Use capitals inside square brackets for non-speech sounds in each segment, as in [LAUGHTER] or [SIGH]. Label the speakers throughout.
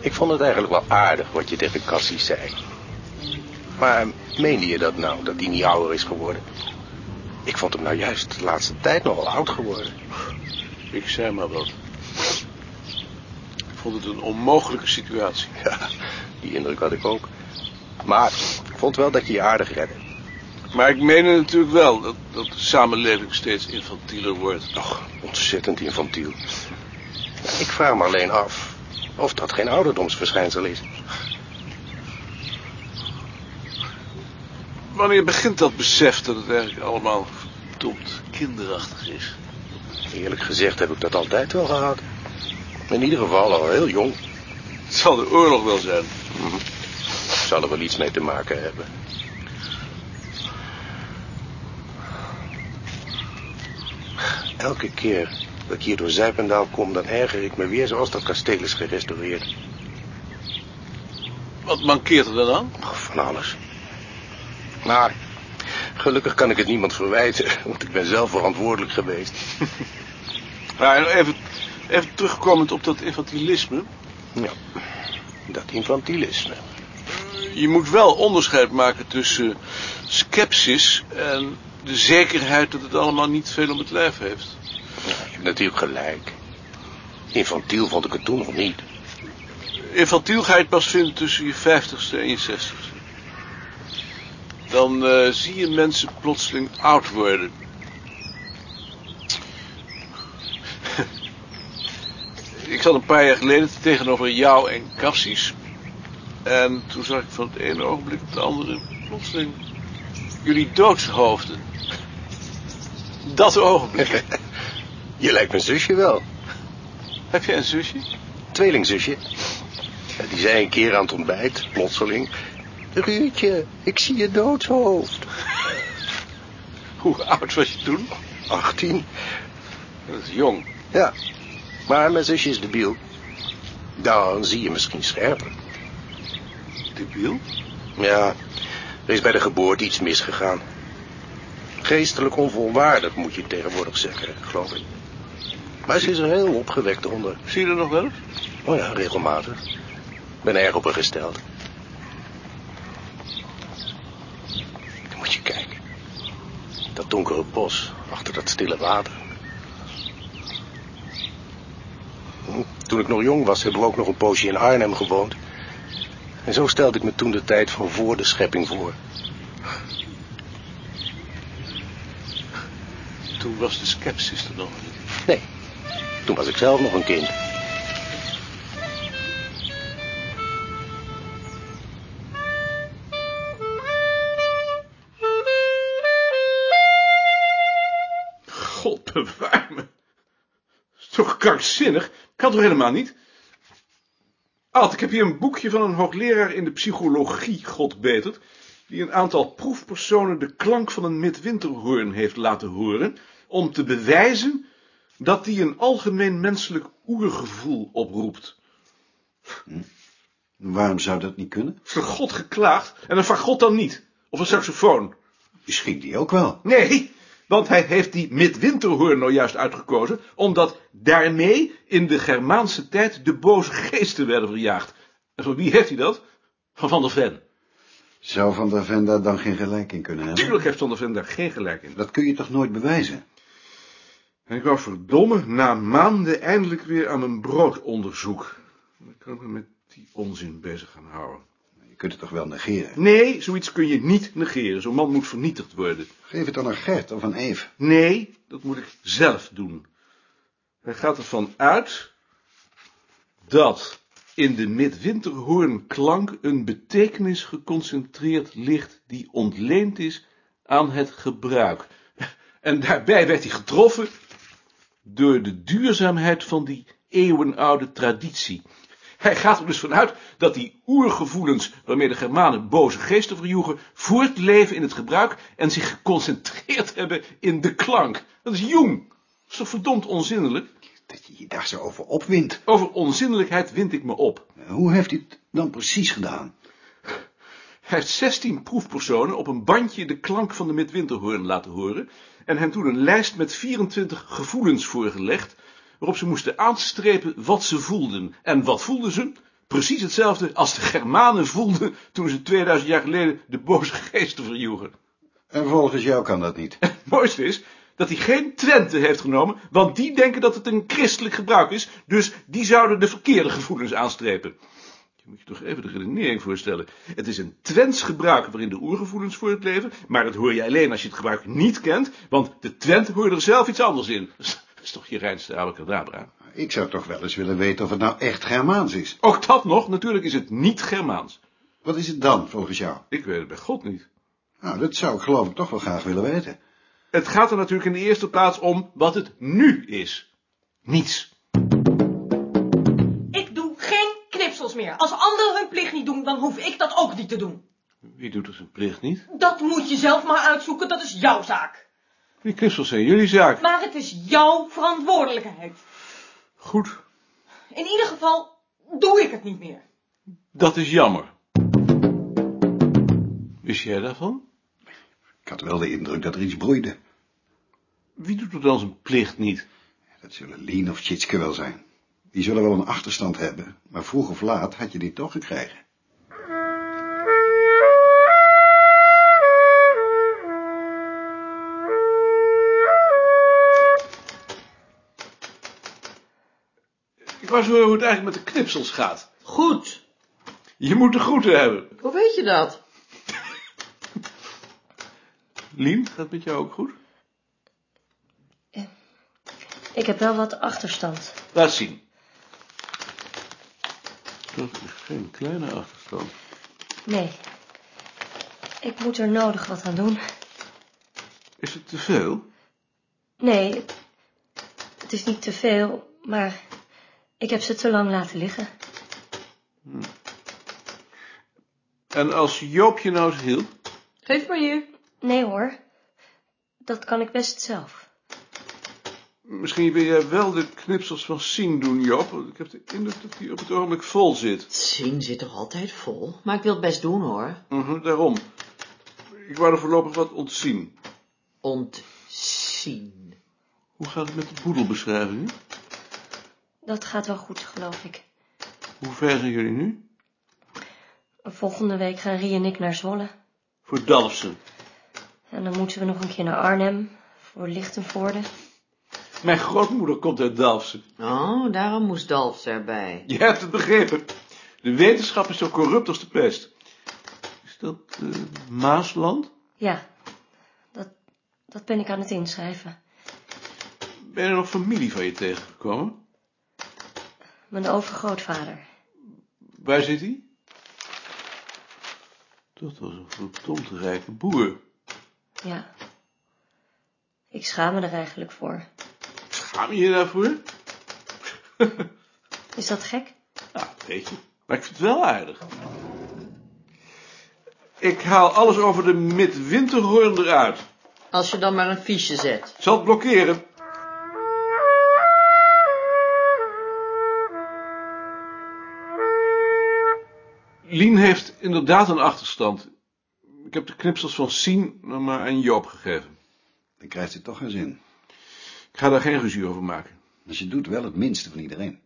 Speaker 1: Ik vond het eigenlijk wel aardig wat je tegen Cassie zei. Maar meende je dat nou, dat hij niet ouder is geworden? Ik vond hem nou juist de laatste tijd nogal oud geworden. [LAUGHS]
Speaker 2: Ik zei maar wat. Ik vond het een onmogelijke situatie.
Speaker 1: Ja, die indruk had ik ook. Maar ik vond wel dat je je aardig redde.
Speaker 2: Maar ik meende natuurlijk wel dat, dat de samenleving steeds infantieler wordt.
Speaker 1: Och, ontzettend infantiel. Ik vraag me alleen af of dat geen ouderdomsverschijnsel is.
Speaker 2: Wanneer begint dat besef dat het eigenlijk allemaal verdomd kinderachtig is?
Speaker 1: Eerlijk gezegd heb ik dat altijd wel gehad. In ieder geval al heel jong.
Speaker 2: Het zal de oorlog wel zijn.
Speaker 1: Mhm. Zal er wel iets mee te maken hebben. Elke keer dat ik hier door Zijpendaal kom, dan erger ik me weer zoals dat kasteel is gerestaureerd.
Speaker 2: Wat mankeert er dan aan?
Speaker 1: Och, van alles. Maar gelukkig kan ik het niemand verwijten, want ik ben zelf verantwoordelijk geweest.
Speaker 2: Ja, en even, even terugkomend op dat infantilisme.
Speaker 1: Ja, dat infantilisme.
Speaker 2: Je moet wel onderscheid maken tussen eh, sceptisch en de zekerheid dat het allemaal niet veel om het lijf heeft.
Speaker 1: Je hebt natuurlijk gelijk. Infantiel vond ik het toen nog niet.
Speaker 2: Infantiel ga je het pas vinden tussen je 50ste en je 60ste. Dan eh, zie je mensen plotseling oud worden. [LAUGHS] ik zat een paar jaar geleden tegenover jou en Cassis. En toen zag ik van het ene ogenblik op het andere plotseling jullie doodshoofden. [LAUGHS] Dat ogenblik.
Speaker 1: Je lijkt mijn zusje wel.
Speaker 2: Heb jij een zusje?
Speaker 1: Tweelingzusje. Ja, Die zei een keer aan het ontbijt, plotseling... Ruudje, ik zie je doodshoofd.
Speaker 2: Hoe oud was je toen?
Speaker 1: 18.
Speaker 2: Dat is jong.
Speaker 1: Ja, maar mijn zusje is debiel. Dan zie je misschien scherper.
Speaker 2: Debiel?
Speaker 1: Ja, er is bij de geboorte iets misgegaan. Geestelijk onvolwaardig, moet je tegenwoordig zeggen, geloof ik. Maar ze is er heel opgewekt onder.
Speaker 2: Zie je er nog wel eens?
Speaker 1: Oh ja, regelmatig. Ik ben erg op haar gesteld. Dan moet je kijken. Dat donkere bos achter dat stille water. Hm, Toen ik nog jong was, hebben we ook nog een poosje in Arnhem gewoond. En zo stelde ik me toen de tijd van voor de schepping voor.
Speaker 2: Toen was de sceptisch er nog niet.
Speaker 1: Nee, toen was ik zelf nog een kind.
Speaker 2: God bewaar me. is toch krankzinnig? Kan toch helemaal niet? Alt, ik heb hier een boekje van een hoogleraar in de psychologie, God betert, die een aantal proefpersonen de klank van een midwinterhoorn heeft laten horen, om te bewijzen dat die een algemeen menselijk oergevoel oproept.
Speaker 3: Waarom zou dat niet kunnen?
Speaker 2: Is er God geklaagd en een fagot dan niet? Of een saxofoon?
Speaker 3: Schikt die ook wel.
Speaker 2: Nee, want hij heeft die midwinterhoorn nou juist uitgekozen, omdat daarmee in de Germaanse tijd de boze geesten werden verjaagd. En van wie heeft hij dat? Van Van der Ven.
Speaker 3: Zou Van der Ven daar dan geen gelijk in kunnen hebben?
Speaker 2: Tuurlijk heeft Van der Ven daar geen gelijk in.
Speaker 3: Dat kun je toch nooit bewijzen?
Speaker 2: En ik wou verdomme na maanden eindelijk weer aan mijn broodonderzoek. Dan kan ik me met die onzin bezig gaan houden.
Speaker 3: Je kunt het toch wel negeren?
Speaker 2: Nee, zoiets kun je niet negeren. Zo'n man moet vernietigd worden.
Speaker 3: Geef het dan aan Gert of aan Eve.
Speaker 2: Nee, dat moet ik zelf doen. Hij gaat ervan uit dat in de midwinterhoornklank een betekenis geconcentreerd ligt die ontleend is aan het gebruik. En daarbij werd hij getroffen door de duurzaamheid van die eeuwenoude traditie. Hij gaat er dus vanuit dat die oergevoelens waarmee de Germanen boze geesten verjoegen, voortleven in het gebruik en zich geconcentreerd hebben in de klank. Dat is jong. Dat is toch verdomd onzinnelijk?
Speaker 3: Dat je je daar zo over opwint. Eh,
Speaker 2: Over onzinnelijkheid wind ik me op.
Speaker 3: Hoe heeft hij het dan precies gedaan?
Speaker 2: Hij heeft 16 proefpersonen op een bandje de klank van de midwinterhoorn laten horen en hen toen een lijst met 24 gevoelens voorgelegd, waarop ze moesten aanstrepen wat ze voelden. En wat voelden ze? Precies hetzelfde als de Germanen voelden toen ze 2000 jaar geleden de boze geesten verjoegen.
Speaker 3: En volgens jou kan dat niet. [LAUGHS]
Speaker 2: Het [LAUGHS] mooiste is dat hij geen Twente heeft genomen, want die denken dat het een christelijk gebruik is, dus die zouden de verkeerde gevoelens aanstrepen. Je moet je toch even de redenering voorstellen. Het is een Twents gebruik waarin de oergevoelens voor het leven, maar dat hoor je alleen als je het gebruik niet kent, want de Twent hoort er zelf iets anders in. [LAUGHS] Dat is toch je reinste abacadabra.
Speaker 3: Ik zou toch wel eens willen weten of het nou echt Germaans is.
Speaker 2: Ook dat nog, natuurlijk is het niet Germaans.
Speaker 3: Wat is het dan, volgens jou?
Speaker 2: Ik weet het bij God niet.
Speaker 3: Nou, dat zou ik geloof ik toch wel graag willen weten.
Speaker 2: Het gaat er natuurlijk in de eerste plaats om wat het nu is. Niets.
Speaker 4: Ik doe geen knipsels meer. Als anderen hun plicht niet doen, dan hoef ik dat ook niet te doen.
Speaker 2: Wie doet er zijn plicht niet?
Speaker 4: Dat moet je zelf maar uitzoeken, dat is jouw zaak.
Speaker 2: Die knutsels zijn jullie zaak.
Speaker 4: Maar het is jouw verantwoordelijkheid.
Speaker 2: Goed,
Speaker 4: In ieder geval doe ik het niet meer.
Speaker 2: dat is jammer. Wist jij daarvan?
Speaker 3: Ik had wel de indruk dat er iets broeide.
Speaker 2: Wie doet er dan zijn plicht niet?
Speaker 3: Dat zullen Lien of Tjitske wel zijn. Die zullen wel een achterstand hebben, maar vroeg of laat had je die toch gekregen.
Speaker 2: Ik was horen hoe het eigenlijk met de knipsels gaat.
Speaker 5: Goed.
Speaker 2: Je moet de groeten hebben.
Speaker 5: Hoe weet je dat?
Speaker 2: Lien, gaat het met jou ook goed?
Speaker 6: Ik heb wel wat achterstand.
Speaker 2: Laat zien. Dat is geen kleine achterstand.
Speaker 6: Nee. Ik moet er nodig wat aan doen.
Speaker 2: Is het te veel?
Speaker 6: Nee, het, het is niet te veel, maar ik heb ze te lang laten liggen.
Speaker 2: En als Joop je nou eens hielp?
Speaker 5: Geef maar hier.
Speaker 6: Nee hoor, dat kan ik best zelf.
Speaker 2: Misschien wil jij wel de knipsels van Sien doen, Job. want Ik heb de indruk dat die op het ogenblik vol zit.
Speaker 5: Zien zit toch altijd vol? Maar ik wil het best doen hoor.
Speaker 2: Mhm, daarom. Ik wou er voorlopig wat ontzien.
Speaker 5: Ontzien.
Speaker 2: Hoe gaat het met de boedelbeschrijvingen?
Speaker 6: Dat gaat wel goed, geloof ik.
Speaker 2: Hoe ver zijn jullie nu?
Speaker 6: Volgende week gaan Rie en ik naar Zwolle.
Speaker 2: Voor Dalfsen.
Speaker 6: En dan moeten we nog een keer naar Arnhem, voor Lichtenvoorde.
Speaker 2: Mijn grootmoeder komt uit Dalfsen.
Speaker 5: Oh, daarom moest Dalfs erbij.
Speaker 2: Je hebt het begrepen. De wetenschap is zo corrupt als de pest. Is dat eh, Maasland?
Speaker 6: Ja, dat, dat ben ik aan het inschrijven.
Speaker 2: Ben je nog familie van je tegengekomen?
Speaker 6: Mijn overgrootvader.
Speaker 2: Waar zit hij? Dat was een verdomd rijke boer.
Speaker 6: Ja. Ik schaam me er eigenlijk voor.
Speaker 2: Schaam je je daarvoor?
Speaker 6: Is dat gek?
Speaker 2: Nou, weet je. Maar ik vind het wel aardig. Ik haal alles over de midwinterhoorn eruit.
Speaker 5: Als je dan maar een fiche zet.
Speaker 2: Ik zal het blokkeren. Lien heeft inderdaad een achterstand. Ik heb de knipsels van Sien nog maar aan Joop gegeven.
Speaker 3: Dan krijgt het toch geen zin.
Speaker 2: Ik ga daar geen ruzie over maken.
Speaker 3: Dus je doet wel het minste van iedereen.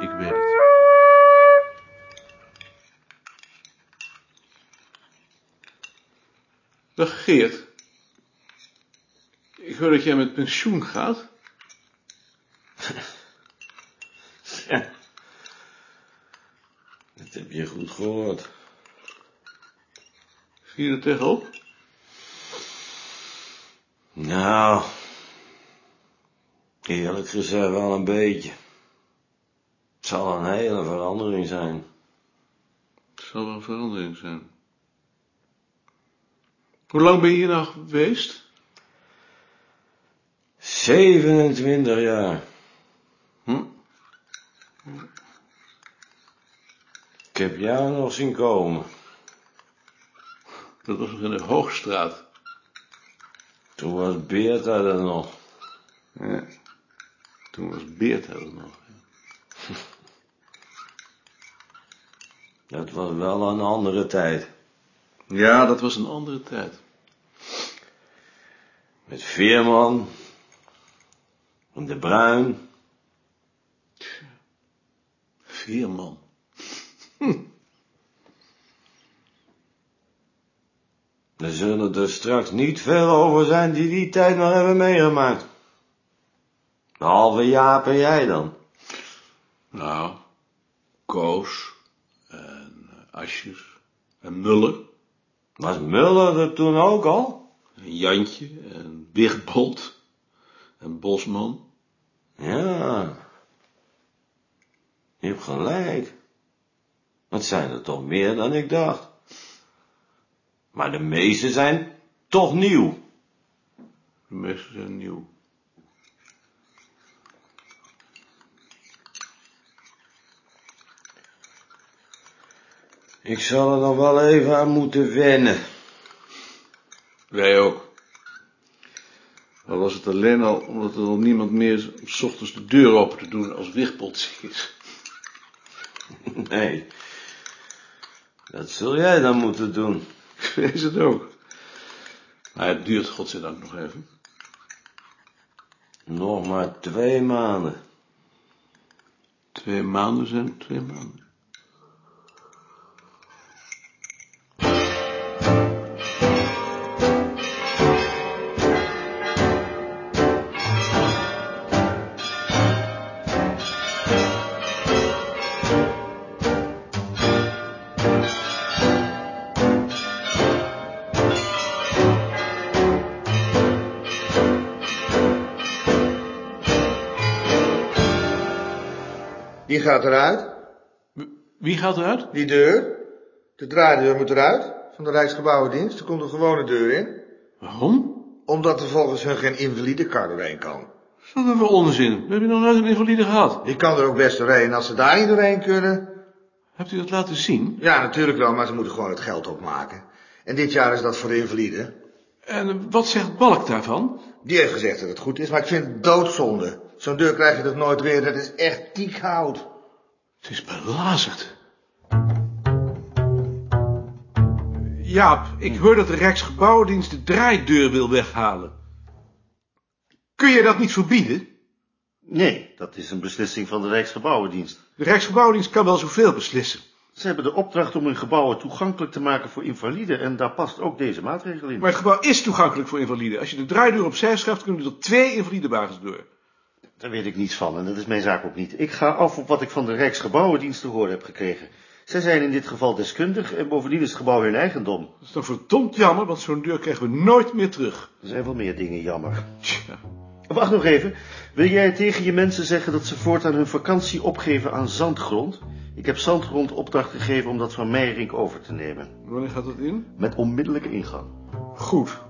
Speaker 2: Ik weet het. Dag Geert. Ik hoor dat jij met pensioen gaat.
Speaker 7: [LAUGHS] Ja. Dat heb je goed gehoord.
Speaker 2: Zie je er tegenop?
Speaker 7: Nou, eerlijk gezegd wel een beetje. Het zal een hele verandering zijn.
Speaker 2: Het zal wel een verandering zijn. Hoe lang ben je hier nou geweest?
Speaker 7: 27 jaar.
Speaker 2: Hm?
Speaker 7: Ik heb jou nog zien komen.
Speaker 2: Dat was nog in de Hoogstraat.
Speaker 7: Toen was Beerta er nog.
Speaker 2: Ja. Toen was Beerta er nog.
Speaker 7: Dat was wel een andere tijd.
Speaker 2: Ja, dat was een andere tijd.
Speaker 7: Met Veerman. En De Bruin. [LAUGHS]
Speaker 2: Veerman.
Speaker 7: Er zullen er straks niet veel over zijn die die tijd nog hebben meegemaakt. Behalve Jaap en jij dan.
Speaker 2: Nou, Koos en eh, Ascher en Muller
Speaker 7: Was Muller er toen ook al?
Speaker 2: en Jantje en Wigbold en Bosman.
Speaker 7: Ja. Je hebt gelijk. Het zijn er toch meer dan ik dacht. Maar de meeste zijn toch nieuw.
Speaker 2: De meeste zijn nieuw.
Speaker 7: Ik zal er nog wel even aan moeten wennen.
Speaker 2: Wij ook. Al was het alleen al omdat er al niemand meer is om 's ochtends de deur open te doen als Wigbold ziek [LAUGHS] is.
Speaker 7: Nee. Dat zul jij dan moeten
Speaker 2: [LAUGHS]
Speaker 7: doen.
Speaker 2: Ik weet het ook. Maar het duurt godzijdank nog even.
Speaker 7: Nog maar twee maanden.
Speaker 2: Twee maanden zijn twee maanden.
Speaker 8: Die gaat eruit.
Speaker 2: Wie gaat eruit?
Speaker 8: Die deur. De draaideur moet eruit. Van de Rijksgebouwendienst. Er komt een gewone deur in.
Speaker 2: Waarom?
Speaker 8: Omdat er volgens hun geen invalide kar doorheen kan.
Speaker 2: Wat een onzin. We hebben nog nooit een invalide gehad.
Speaker 8: Die kan er ook best doorheen als ze daar niet doorheen kunnen.
Speaker 2: Hebt u dat laten zien?
Speaker 8: Ja, natuurlijk wel, maar ze moeten gewoon het geld opmaken. En dit jaar is dat voor de invalide.
Speaker 2: En eh, wat zegt Balk daarvan?
Speaker 8: Die heeft gezegd dat het goed is, maar ik vind het doodzonde. Zo'n deur krijg je toch nooit weer. Dat is echt diek hout.
Speaker 2: Het is belazerd. Jaap, ik hoor dat de Rijksgebouwendienst de draaideur wil weghalen. Kun je dat niet verbieden?
Speaker 9: Nee, dat is een beslissing van de Rijksgebouwendienst.
Speaker 2: De Rijksgebouwendienst kan wel zoveel beslissen.
Speaker 9: Ze hebben de opdracht om hun gebouwen toegankelijk te maken voor invaliden en daar past ook deze maatregel in.
Speaker 2: Maar het gebouw is toegankelijk voor invaliden. Als je de draaideur opzij schuift, kunnen er twee invalidewagens door.
Speaker 9: Daar weet ik niets van en dat is mijn zaak ook niet. Ik ga af op wat ik van de Rijksgebouwendienst te horen heb gekregen. Zij zijn in dit geval deskundig en bovendien is het gebouw hun eigendom.
Speaker 2: Dat is dan verdomd jammer, want zo'n deur krijgen we nooit meer terug.
Speaker 9: Er zijn wel meer dingen jammer.
Speaker 2: Tja.
Speaker 9: Wacht nog even. Wil jij tegen je mensen zeggen dat ze voortaan hun vakantie opgeven aan zandgrond? Ik heb zandgrond opdracht gegeven om dat van Meijerink over te nemen.
Speaker 2: Wanneer gaat dat in?
Speaker 9: Met onmiddellijke ingang.
Speaker 2: Goed.